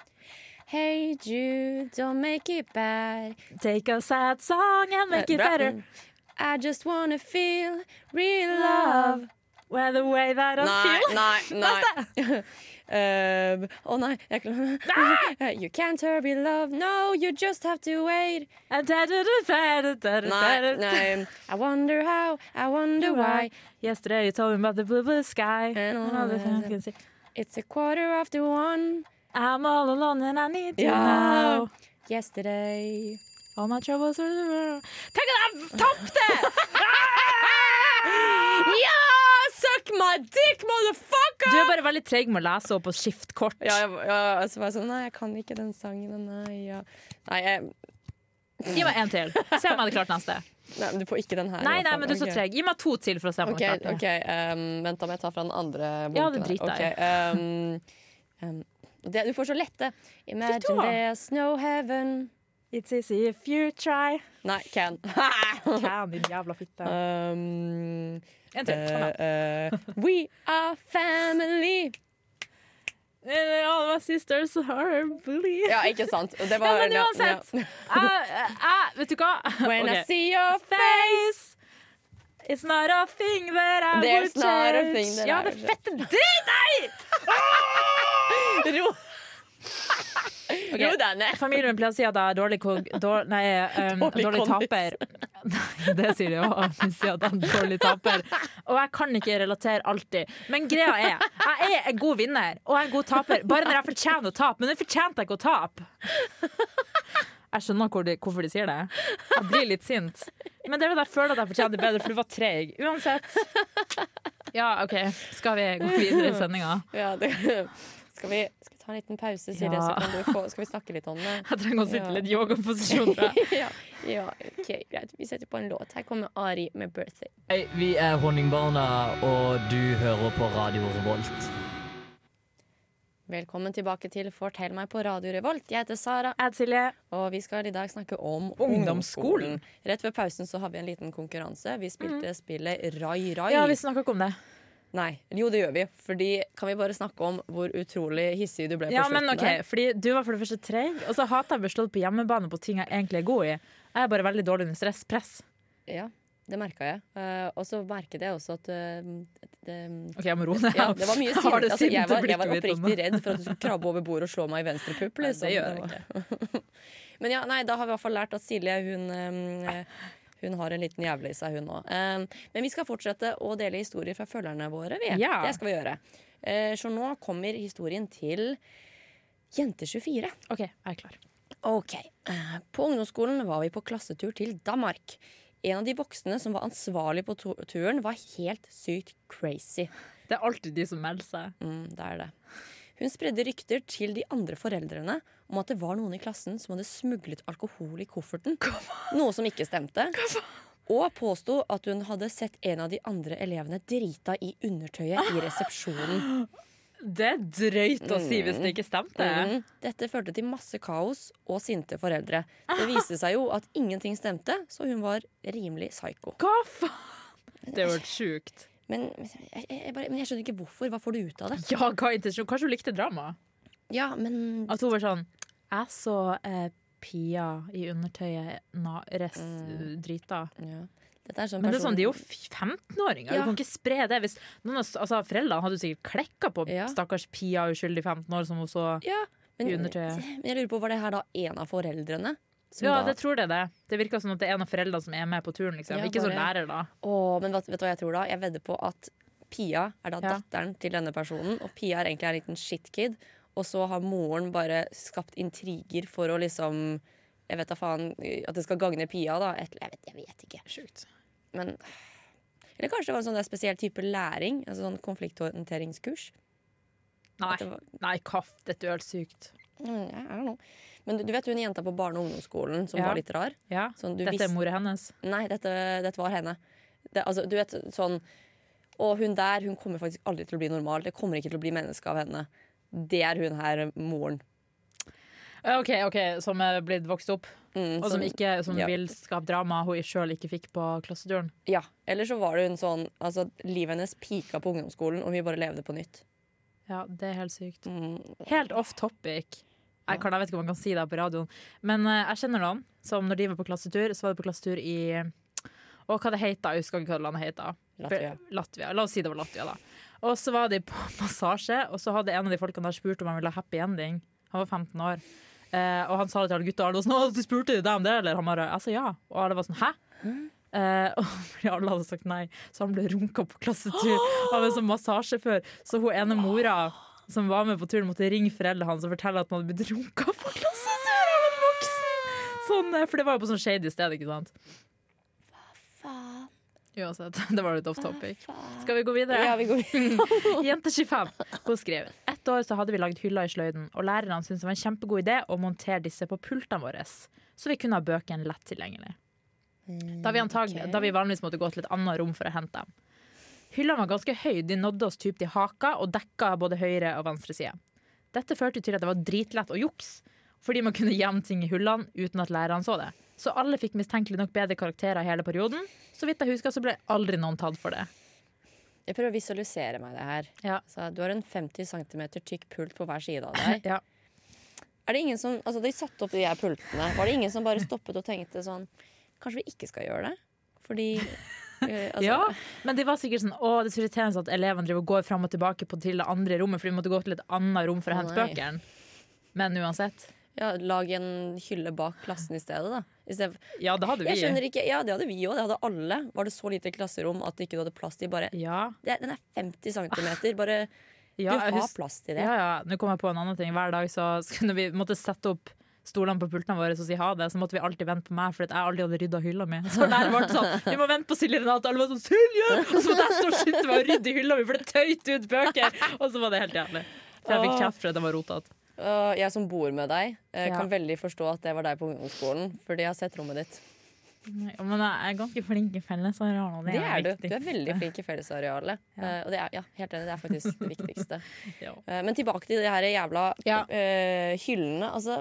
Hey Jude, don't make it bad.
Take a sad song and make it
Bra.
better.
I just wanna feel real love.
Love. Where the way that I feel.
nei, nei. Eh, Å nei, jeg
Ah!
klarer You can't hurry love, no, you just have to wait.
And da- da- da- da- da- da- da-
Nei,
da-
nei. I wonder how, I wonder why.
Yesterday you told me about the blue blue sky.
And all
And all the
that-
things I can see.
It's a quarter after one.
I'm all alone and I need you
Ja.
now.
Yesterday.
All my troubles are Tenk at jeg tapte!
Ja! Suck my dick,
Du
motherfucker!
er bare veldig treg med å lese opp og skifte kort.
Ja, jeg, ja, så var jeg sånn Nei, jeg kan ikke den sangen. og Nei, ja. nei, jeg,
Gi meg en til. Se om jeg hadde klart neste.
nei, men du får ikke den her. i
Nei,
hvert
nei,
fall.
men du er så
Ok.
treg. Gi meg to til for å se om
Ok,
jeg hadde
ok,
klart det.
ehm, vent da må jeg ta fra den andre bunken
Ja, det
her.
driter jeg
Ok, ehm, ehm, det, du får så lette.
Fy
Imagine
da.
there's no heaven.
It's easy if you try.
Nei, can.
Can, din jævla fitte.
Ehm,
En til. Kom igjen.
eh, eh, we are family.
All my sisters are bully.
Ja, ikke sant. Det
Ja,
var,
men uansett.
ja.
Jeg, jeg, vet du hva?
When I
Ok.
see your
Face. It's not a thing that I
There's
would
not a
change.
thing that
Ja,
I
det
would
fette drit deg!
Ro, ro deg ned.
Familien min pleier å si at jeg er dårlig kog... Dår, nei, um,
Dårlig
dårlig,
kondis.
taper. Nei, det sier de òg. De sier at jeg er dårlig taper. Og jeg kan ikke relatere alltid. Men greia er, jeg er en god vinner og jeg er en god taper. Bare når jeg fortjener å tape. Men nå fortjente jeg ikke å tape. Jeg skjønner hvor de, hvorfor de sier det. Jeg blir litt sint. Men det er fordi jeg føler at jeg fortjener det bedre, for du var treig. Uansett. Ja, OK. Skal vi gå videre i sendinga?
Ja, det, skal, vi, skal vi ta en liten pause, Silje,
Ja.
så kan du få, skal vi snakke litt om det?
Jeg trenger å sitte
Ja.
litt i yogaposisjon. tror jeg.
ja, ja, ok, greit. Vi setter på en låt. Her kommer Ari med 'Birthday'.
Hei, vi er Honningbarna, og du hører på Radio Revolt.
Velkommen tilbake til Fortell meg på Radio Revolt. Jeg heter Sara,
Jeg, Silje.
og vi skal i dag snakke om
Ungdomsskolen.
ungdomsskolen. Rett ved pausen så har vi en liten konkurranse. Vi spilte spillet Rai Rai.
Mm. Ja, vi snakka ikke om det.
Nei, jo det gjør vi. Fordi kan vi bare snakke om hvor utrolig hissig du ble på
Ja,
slutten
men ok,
der?
fordi Du var for det første treig, og så hater jeg å bli slått på hjemmebane på ting jeg egentlig er god i. Jeg er bare veldig dårlig under stress. Press.
Ja, det merka jeg. Eh, og så merket jeg også at eh, det,
OK, jeg må roe ned.
Ja, det var mye
Jeg har
sint.
det
Altså, jeg,
sinte
var, jeg var
blikket mitt,
oppriktig
Anne.
redd for at du skulle krabbe over bordet og slå meg i venstre pupp.
Nei,
Liksom.
det gjør
var-
jeg
Men ja, nei, da har vi i hvert fall lært at Silje hun, eh, hun har en liten jævle i seg, hun òg. Men vi skal fortsette å dele historier fra følgerne våre. Vi.
Ja.
Det skal vi gjøre. Eh, Så nå kommer historien til Jente24.
OK, jeg er klar.
Ok. Eh, På ungdomsskolen var vi på klassetur til Danmark. En av de voksne som var ansvarlig på tu- turen, var helt sykt crazy.
Det er alltid de som melder seg.
Mm, det er det. Hun spredde rykter til de andre foreldrene om at det var noen i klassen som hadde smuglet alkohol i kofferten. Noe som ikke stemte. Og påsto at hun hadde sett en av de andre elevene drita i undertøyet i resepsjonen.
Det er drøyt å si hvis det ikke stemte.
Mhm. Dette førte til masse kaos og sinte foreldre. Det viste seg jo at ingenting stemte, så hun var rimelig psyko.
Hva faen? Det er jo helt sjukt.
Men jeg, jeg, jeg, bare, men jeg skjønner ikke hvorfor. Hva får du ut av det?
Ja, hva er intensjon? Kanskje hun likte drama?
Ja, men
At hun var sånn Jeg så eh, Pia i undertøyet na, res, drita.
ja. Dette er sånn
Men det er
person-
sånn, de er jo f- 15-åringer.
Ja.
Du kan ikke spre det. Hvis noen, av s- altså, foreldrene hadde jo sikkert klekka på
Ja.
stakkars Pia, uskyldig 15 år, som hun så
Ja, men,
i undertøyet.
men jeg lurer på, var det her da en av foreldrene? Som
Ja,
da,
det tror jeg det. Det virker som at det er en av foreldrene som er med på turen. Liksom.
Ja,
ikke som
bare-
lærer, da.
Åh, men vet, vet du hva jeg tror da? Jeg vedder på at Pia er da
Ja.
datteren til denne personen, og Pia er egentlig en liten shitkid. Og så har moren bare skapt intriger for å liksom Jeg vet da faen At det skal gagne Pia, da. Et, jeg, vet, jeg vet ikke.
Sjukt.
Men Eller kanskje det var en sånn der spesiell type læring? Altså sånn konflikthåndteringskurs?
Nei,
At det var-
nei kaff, dette er jo helt sykt.
Mm, jeg er noe. Men du, du vet hun jenta på barne- og ungdomsskolen som
Ja.
var litt rar?
Ja.
Sånn, du
Dette
visste-
er mora hennes.
Nei, dette, dette var henne. Det, altså, du vet sånn Og hun der hun kommer faktisk aldri til å bli normal. Det kommer ikke til å bli menneske av henne. Det er hun her, moren.
Eh, OK, ok, som er blitt vokst opp,
Mm,
og som, ikke, som
ja.
vil skape drama hun sjøl ikke fikk på klasseturen.
Ja. Eller så var det hun sånn altså, Livet hennes pika på ungdomsskolen, og vi bare levde på nytt.
Ja, det er helt sykt.
Mm,
Helt off topic. Jeg, kan, jeg vet ikke om man kan si det her på radioen, men eh, jeg kjenner noen som når de var på klassetur, så var de på klassetur i Og hva det heter, jeg husker ikke hva landet heter.
Latvia.
Be- Latvia. La oss si det var Latvia, da. Og så var de på massasje, og så hadde en av de folkene der spurt om han ville ha happy ending. Han var 15 år. Eh, og han sa det til alle gutta, og alle var sånn, «Å, du spurte jo deg om det, eller? Han bare, jeg sa ja. Og alle var sånn, hæ? Eh, og fordi alle hadde sagt nei, så han ble runka på klassetur av en sånn massasjefør. Så hun ene mora som var med på turen, måtte ringe foreldrene hans og fortelle at han hadde blitt runka på klassetur av en voksen! Sånn, eh, for det var jo på sånn shady sted, ikke sant?
faen,
Uansett, det var litt off topic.
faen.
Skal vi gå videre?
Ja, vi går
Jente 25. Hun skrev Et år så hadde vi lagd hyller i sløyden, og lærerne syntes det var en kjempegod idé å montere disse på pultene våre, så vi kunne ha bøkene lett tilgjengelig. Da vi, antagelig, da vi vanligvis måtte gå til et annet rom for å hente dem. Hyllene var ganske høye, de nådde oss typ til haka og dekka både høyre og venstre side. Dette førte til at det var dritlett å jukse, fordi man kunne gjemme ting i hullene uten at lærerne så det. Så alle fikk mistenkelig nok bedre karakterer i hele perioden. Så vidt jeg husker, så ble aldri noen tatt for det.
Jeg prøver å visualisere meg det her.
Ja.
Så du har en 50 cm tykk pult på hver side av deg.
Ja.
Er det ingen som, altså De satte opp de her pultene. Var det ingen som bare stoppet og tenkte sånn Kanskje vi ikke skal gjøre det? Fordi eh, altså,
Ja, men det var sikkert sånn Å, det er så irriterende at elevene driver og går fram og tilbake på til det andre rommet, for de måtte gå til et annet rom for
Å,
å hente
nei.
bøkene. Men uansett.
ja, Lag en hylle bak klassen i stedet, da. I stedet,
Ja, det hadde vi.
jeg skjønner ikke, ja, Det hadde vi òg. Det hadde alle. Var det så lite klasserom at ikke du hadde plass til bare
Ja,
det, Den er 50 cm. Bare
ja,
Du
jeg
har
hus-
plass til det.
ja, ja. Nå kom jeg på en annen ting. Hver dag så skulle vi måtte sette opp stolene på pultene våre og si ha det, så måtte vi alltid vente på meg, for at jeg aldri hadde rydda hylla mi. Så læreren var alltid sånn Vi må vente på Silje Renate! Alle var sånn Silje! Og så måtte jeg stå og skynde meg å rydde i hylla mi, for det tøyt ut bøker! Og så var det helt jævlig. For jeg fikk kjeft for at det var rotete.
Og jeg som bor med deg, eh,
Ja.
kan veldig forstå at det var deg på ungdomsskolen. Fordi jeg har sett rommet ditt.
Men jeg er ganske flink i fellesarealene.
Det er du. Du
viktig.
er veldig flink i fellesarealet. Eh, og det er, ja, helt enig, det er faktisk det viktigste.
Ja.
Eh, men tilbake til de her jævla
Ja.
eh, hyllene. Altså,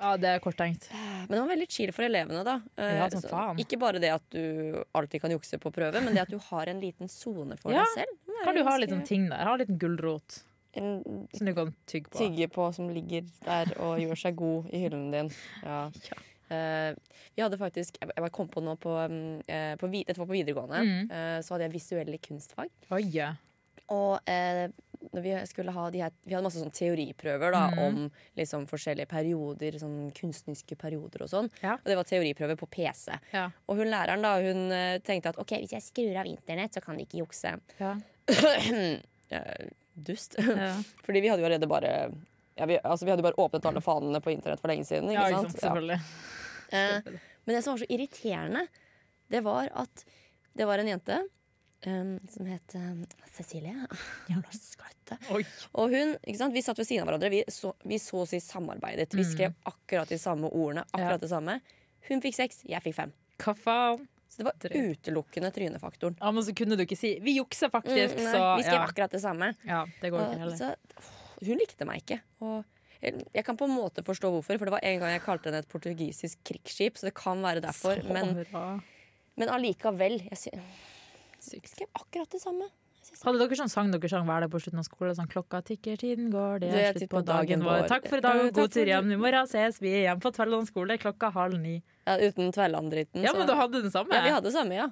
Ja, det er korttenkt.
men det var veldig chill for elevene, da. Eh,
Ja, som faen.
ikke bare det at du alltid kan jukse på prøve, men det at du har en liten sone for
Ja.
deg selv. Det er
Kan du ha
ganske-
litt sånn ting der? Ha litt gulrot
en
som du kan tygge på.
tygge på som ligger der og gjør seg god i hyllen din. Ja. Eh, vi hadde faktisk Jeg bare kom på nå på, um, eh, på, vid- Dette var på videregående.
Mm.
eh, så hadde jeg visuelle kunstfag.
Oi, ja.
Og eh, når vi skulle ha de her Vi hadde masse sånn teoriprøver da
Mm.
om liksom forskjellige perioder, sånn kunstneriske perioder og sånn.
Ja.
Og det var teoriprøver på PC.
Ja.
Og hun læreren da, hun eh, tenkte at OK, hvis jeg skrur av internett, så kan de ikke jukse.
Ja.
Eh, Dust. Fordi vi hadde jo allerede bare ja, vi, altså, vi hadde jo bare åpnet alle fanene på internett for lenge siden. Ikke
Ja, ikke
sant?
sant, selvfølgelig.
Ja. Eh, men det som var så irriterende, det var at det var en jente eh, som het eh, Cecilie. Jævla skøyte.
Oi.
Og hun, ikke sant, Vi satt ved siden av hverandre. Vi så, vi så å si samarbeidet. Vi skrev akkurat de samme ordene.
Mm. Ja.
akkurat det samme. Hun fikk seks, jeg fikk fem.
Hva faen?
Så det var
Drøyt.
utelukkende trynefaktoren.
Ja, men så kunne du ikke si 'vi jukser
Mm,
faktisk',
nei,
så
vi skrev
ja.
akkurat det samme.
ja. Det går ikke
Og
heller.
så, åh, hun likte meg ikke. Og jeg, jeg kan på en måte forstå hvorfor, for det var en gang jeg kalte henne et portugisisk krigsskip. Så det kan være derfor. Men,
bra.
men allikevel. Jeg sy jeg skrev akkurat det samme. Jeg synes-
Hadde dere sånn sang dere sang hver dag på slutten av skolen? Sånn 'Klokka tikker, tiden går, det
Det
er slutt på dagen vår'. Takk for i dag,
Ja,
og
takk
god
for-
tur hjem. I morgen ses vi igjen på Tverland skole klokka halv ni.
Ja, uten Tverland-dritten.
Ja,
så-
men du hadde den samme?
ja, vi hadde det samme, ja.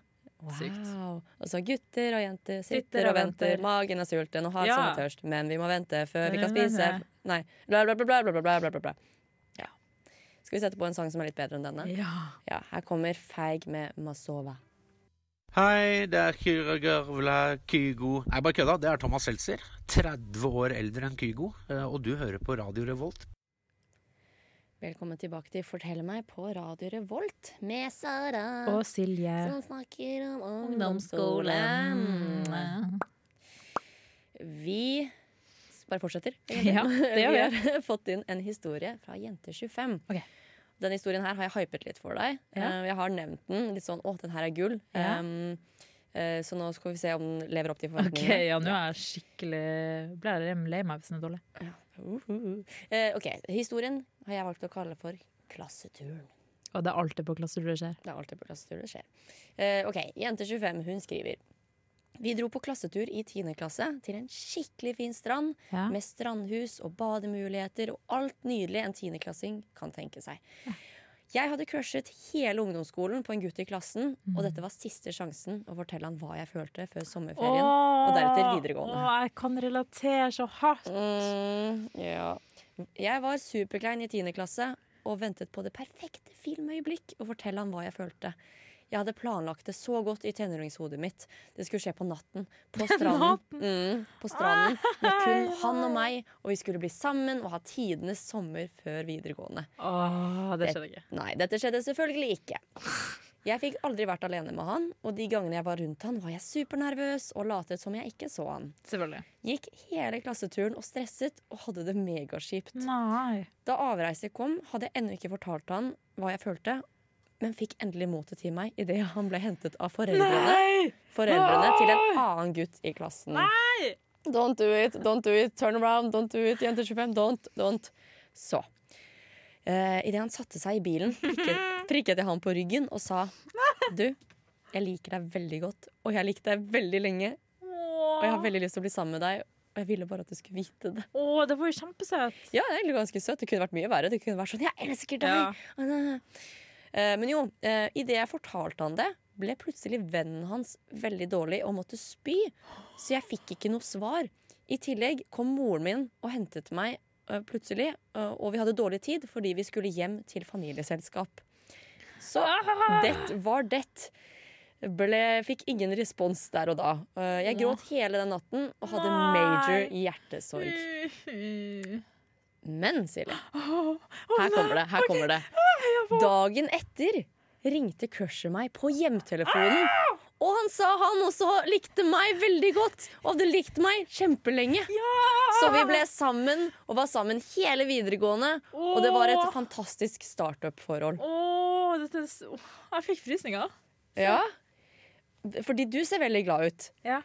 Sykt.
Wow. Og så gutter og jenter sitter og venter. Magen er sulten og har
Ja.
sånn tørst, men vi må vente før vi
Men
kan
vi må
spise.
vente.
Nei. Bla, bla, bla, bla, bla, bla, bla, bla, bla. Ja. Skal vi sette på en sang som er litt bedre enn denne?
Ja.
Ja, her kommer Feig med Masova.
Hei, det er Kyra Garvla Kygo. Nei, bare kødda. Det er Thomas Seltzer. 30 år eldre enn Kygo. eh, Og du hører på Radio Revolt.
Velkommen tilbake til Fortell meg på Radio Revolt med Sara.
Og Silje.
som snakker om ungdomsskolen.
Ungdomsskolen.
Vi bare fortsetter.
Ja, det gjør vi.
vi. har fått inn en historie fra Jente25.
Ok.
Den historien her har jeg hypet litt for deg.
Ja.
Eh, Jeg har nevnt den litt sånn 'Å, den her er gull'.
Ja.
Em, eh, så nå skal vi se om den lever opp til
OK,
forventningene.
ja, nå er jeg skikkelig Ble jeg lei meg hvis den er dårlig.
Uhuhu. Eh, ok, Historien har jeg valgt å kalle for 'Klasseturen'.
Og det er alltid på klassetur det skjer.
Det er alltid på klassetur det skjer. Eh, ok, Jente 25 hun skriver Vi dro på klassetur i 10. klasse til en skikkelig fin strand
Ja.
med strandhus og bademuligheter og alt nydelig en 10. klassing kan tenke seg. Jeg hadde crushet hele ungdomsskolen på en gutt i klassen, og dette var siste sjansen å fortelle han hva jeg følte før sommerferien og deretter videregående.
Åh, jeg kan relatere så hardt.
Mm, ja. Jeg var superklein i 10. klasse og ventet på det perfekte filmøyeblikk å fortelle han hva jeg følte. Jeg hadde planlagt det så godt i tenåringshodet mitt. Det skulle skje på natten. På stranden. Mm, på stranden med kun han og meg, og vi skulle bli sammen og ha tidenes sommer før videregående.
Åh, det
Det-
skjedde ikke.
Nei, dette skjedde selvfølgelig ikke. Jeg fikk aldri vært alene med han, og de gangene jeg var rundt han, var jeg supernervøs og latet som jeg ikke så han.
Selvfølgelig.
Gikk hele klasseturen og stresset og hadde det megaskipt.
Nei.
Da avreise kom, hadde jeg ennå ikke fortalt han hva jeg følte, men fikk endelig motet til meg idet han ble hentet av foreldrene, foreldrene til en annen gutt i klassen.
Nei!
Don't do it, don't do it, turn around, don't do it, jenter 25, don't, don't. Så. Uh, idet han satte seg i bilen, prikket, prikket jeg han på ryggen og sa Du, jeg liker deg veldig godt, og jeg har likt deg veldig lenge, og jeg har veldig lyst til å bli sammen med deg, og jeg ville bare at du skulle vite det.
Åh, det var jo kjempesøtt.
Ja, det er egentlig ganske søtt. Det kunne vært mye verre. Det kunne vært sånn, jeg elsker deg
Ja.
Eh, Men jo, eh, i det jeg fortalte han det, ble plutselig vennen hans veldig dårlig og måtte spy. Så jeg fikk ikke noe svar. I tillegg kom moren min og hentet meg eh, plutselig, eh, og vi hadde dårlig tid fordi vi skulle hjem til familieselskap. Så det var det. Ble, fikk ingen respons der og da. Eh, Jeg gråt hele den natten og hadde
Nei.
major hjertesorg. Men, Silje,
Å,
her
nei.
kommer det. Her kommer det. Dagen etter ringte crushet meg på hjemtelefonen.
Ah!
Og han sa han også likte meg veldig godt, og hadde likt meg kjempelenge. Så vi ble sammen, og var sammen hele videregående. Og det var et
Åh.
fantastisk startup-forhold.
Åh, dette, er s- åh, jeg fikk frysninger.
Ja. Fordi du ser veldig glad ut.
Ja.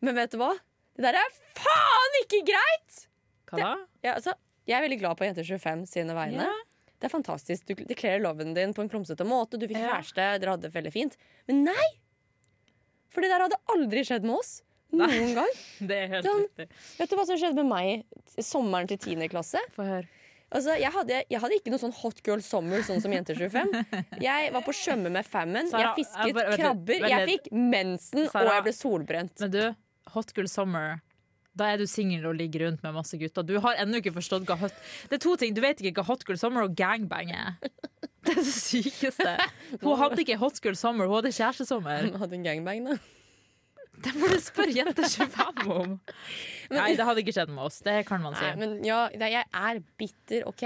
Men vet du hva? Det der er faen ikke greit!
Hva da?
Ja, altså, jeg er veldig glad på Jenter 25 sine vegne.
Ja.
Det er fantastisk. Du du kler loven din på en klumsete måte. Du fikk
Ja.
kjæreste, dere hadde det veldig fint. Men nei! For det der hadde aldri skjedd med oss. Noen gang.
Det er helt
Sånn.
riktig.
Vet du hva som skjedde med meg t- sommeren til 10. klasse?
Få høre.
Altså, jeg, hadde, jeg hadde ikke noe sånn hot girl summer, sånn som Jenter 25. Jeg var på svømme med fammen. Jeg
Sara, jeg
fisket
bare- vent litt,
krabber.
vent
Jeg
litt.
fikk mensen, og
Sara.
jeg ble solbrent.
Men du, Hot Girl Summer da er du singel og ligger rundt med masse gutter. Du har ennå ikke forstått hva hot Det er to ting. Du vet ikke hva Hot Girl Summer og gangbang er. Det er det sykeste. Hun hadde ikke Hot Girl Summer, hun hadde kjærestesommer.
Jeg hadde en gangbang, da.
Det får du spørre jenter 25 om. Nei, det hadde ikke skjedd med oss. Det kan man si.
Nei, men ja, det, jeg er bitter, OK?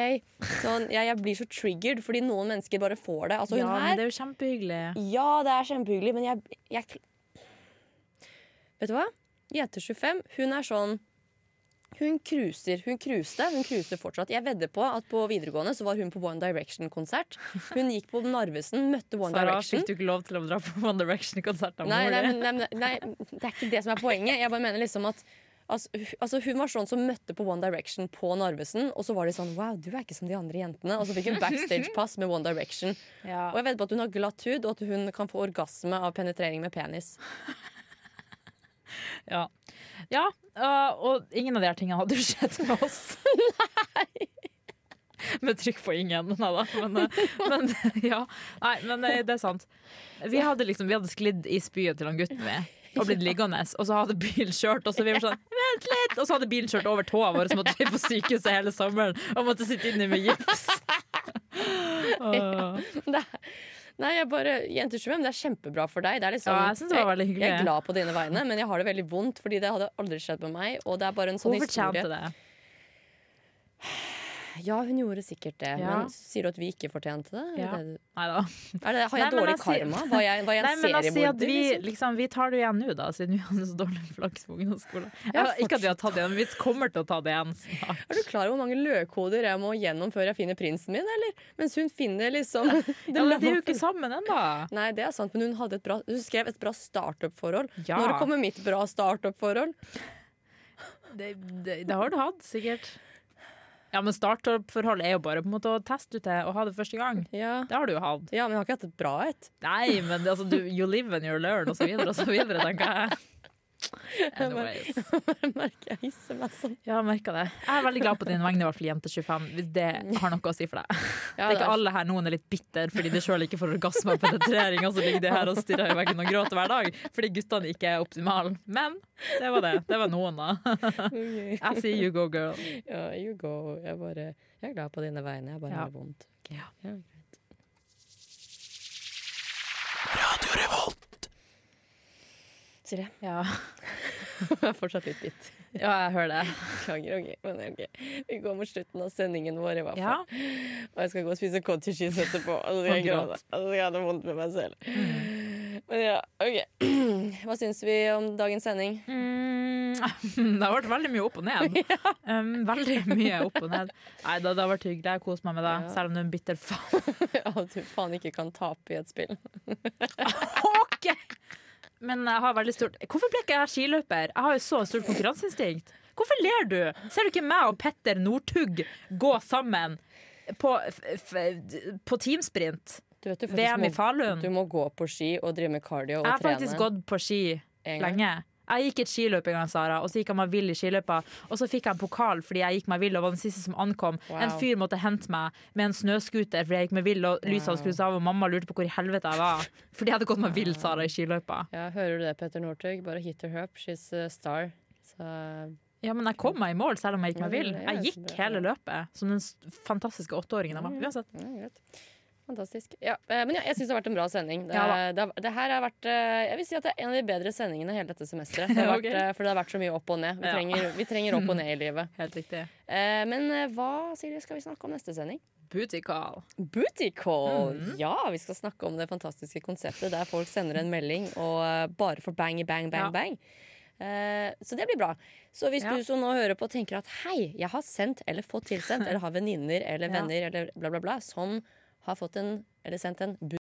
Sånn, jeg, jeg blir så triggered fordi noen mennesker bare får det. Altså, hun
ja, men
her
det er jo kjempehyggelig.
Ja, det er kjempehyggelig, men jeg, jeg kl- Vet du hva? Jente 25, hun er sånn Hun cruiser. Hun cruiste. Hun cruiser fortsatt. Jeg vedder på at på videregående så var hun på One Direction-konsert. Hun gikk på Narvesen, møtte One
Sara,
Direction.
fikk du ikke lov til å dra på One Direction-konsert av
Nei,
mor
nei,
di?
men- nei, men- nei, det er ikke det som er poenget. Jeg bare mener liksom at altså, hu- altså, Hun var sånn som møtte på One Direction på Narvesen, og så var de sånn Wow, du er ikke som de andre jentene. Og så fikk hun backstage-pass med One Direction.
Ja.
Og jeg vet på at hun har glatt hud, og at hun kan få orgasme av penetrering med penis.
Ja, ja øh, og ingen av de her tingene hadde jo skjedd med oss. Nei! Med trykk på ingen, nei da. Men, øh, men, ja. Nei, men øh, det er sant. Vi hadde liksom, vi hadde sklidd i spyet til han gutten vi. Og blitt liggende, og så hadde bilen kjørt. Og så vi var sånn, vent litt Og så hadde bilen kjørt over tåa vår, så måtte vi på sykehuset hele sommeren. Og måtte sitte inne med gips. Åh.
Det er, nei, jeg bare Jenter 25, det er kjempebra for deg. Det er liksom,
Ja, jeg synes det var veldig
jeg, jeg
hyggelig.
er glad på dine vegne, men jeg har det veldig vondt, fordi det hadde aldri skjedd med meg. Og det er bare en sånn
Hun
historie.
fortjente det.
Ja, hun gjorde sikkert det,
Ja.
men sier du at vi ikke fortjente det? Er det
Ja.
det du-
Nei da.
Er det, har jeg
Nei, men
dårlig
altså-
karma? Var jeg, var jeg en
Nei, men altså, at
seriemorder?
vi,
liksom?
liksom, vi tar det igjen nå, da, siden vi hadde så dårlig flaks på ungdomsskolen.
Ja,
Ja, ikke at vi har tatt det igjen, men vi kommer til å ta det igjen snart.
Er du klar over hvor mange løkhoder jeg må gjennom før jeg finner prinsen min? eller? Mens hun finner liksom
Ja, men de er jo ikke sammen ennå.
Nei, det er sant, men hun, hadde et bra, hun skrev et bra startup-forhold.
Ja.
Når kommer mitt bra startup-forhold?
Det, det, det har du hatt, sikkert. Ja, men startup-forhold er jo bare på en måte å teste ut det og ha det første gang.
Ja.
Det har du jo hatt.
ja, men jeg har ikke hatt et bra et.
Nei, men altså, du, you live and you learn, og så videre og så videre, tenker jeg. Anyways.
Jeg merker jeg hisser meg sånn.
Ja, jeg merker det. Jeg er veldig glad på din vegne, i hvert fall jente 25, hvis det har noe å si for deg.
Ja,
det er ikke alle her noen er litt bitter fordi de sjøl ikke får orgasme av penetrering, og så ligger de her og stirrer i veggen og gråter hver dag fordi guttene ikke er optimale. Men det var det. Det var noen, da.
Ok.
Jeg sier you go, girl.
Ja, you go. Jeg, bare, jeg er glad på dine vegne. Jeg bare
Ja.
har det vondt. Ok. Ja, greit. Silje,
Ja,
jeg er fortsatt litt bitt.
ja jeg hører det.
Beklager, ok, men ok. Vi går mot slutten av sendingen vår, i hvert
Ja.
fall. Og jeg skal gå og spise cottage cheese etterpå. Og så skal jeg
Og
gråte.
gråt. Mm.
Og så skal jeg ha det vondt med meg selv. Men ja, OK. Hva syns vi om dagens sending?
Mm, det har vært veldig mye opp og ned. Um, veldig mye opp og ned. Nei, det, det har vært hyggelig. Jeg koser meg med det,
Ja.
selv om du er en bitter faen.
At du faen ikke kan tape i et spill.
Ok. Men jeg har veldig stort Hvorfor ble ikke jeg skiløper? Jeg har jo så stort konkurranseinstinkt. Hvorfor ler du? Ser du ikke meg og Petter Northug gå sammen på, f f på teamsprint?
Du vet du
VM
faktisk
i
må,
Falun?
du må gå på ski og drive med cardio og
Jeg har faktisk
trene.
gått på ski
En gang.
lenge. Jeg gikk et skiløp en gang, Sara, og så gikk jeg meg vill i skiløypa. Og så fikk jeg en pokal fordi jeg gikk meg vill og var den siste som ankom.
Wow.
En fyr måtte hente meg med en snøscooter fordi jeg gikk meg vill, og lyset hadde skrudd seg av, og mamma lurte på hvor i helvete jeg var. Fordi jeg hadde gått meg vill, Sara, i skiløypa.
Ja, hører du det, Petter Northug? Bare hit her up. She's a star. Så
Ja, men jeg kom meg i mål selv om jeg gikk
Ja,
meg vill.
det er jo
Jeg
så
gikk
bra.
hele løpet som den s- fantastiske åtteåringen jeg var. Uansett.
ja, greit. Fantastisk. Ja, eh, men ja, jeg syns det har vært en bra sending. Det,
Ja da.
det, har- det her har vært eh, Jeg vil si at det er en av de bedre sendingene hele dette semesteret. Det har vært,
Ok.
eh, For det har vært så mye opp og ned. Vi
Ja.
trenger, vi trenger opp og ned i livet.
Helt riktig.
Eh, Men eh, hva Silje, skal vi snakke om neste sending?
Booty call.
Booty call!
Mm.
Ja, vi skal snakke om det fantastiske konseptet der folk sender en melding og eh, bare får bang, i bang, bang,
Ja.
bang. Eh, Så det blir bra. Så hvis
Ja.
du som nå hører på tenker at hei, jeg har sendt eller fått tilsendt eller har venninner eller
Ja.
venner eller bla, bla, bla som har fått en eller sendt en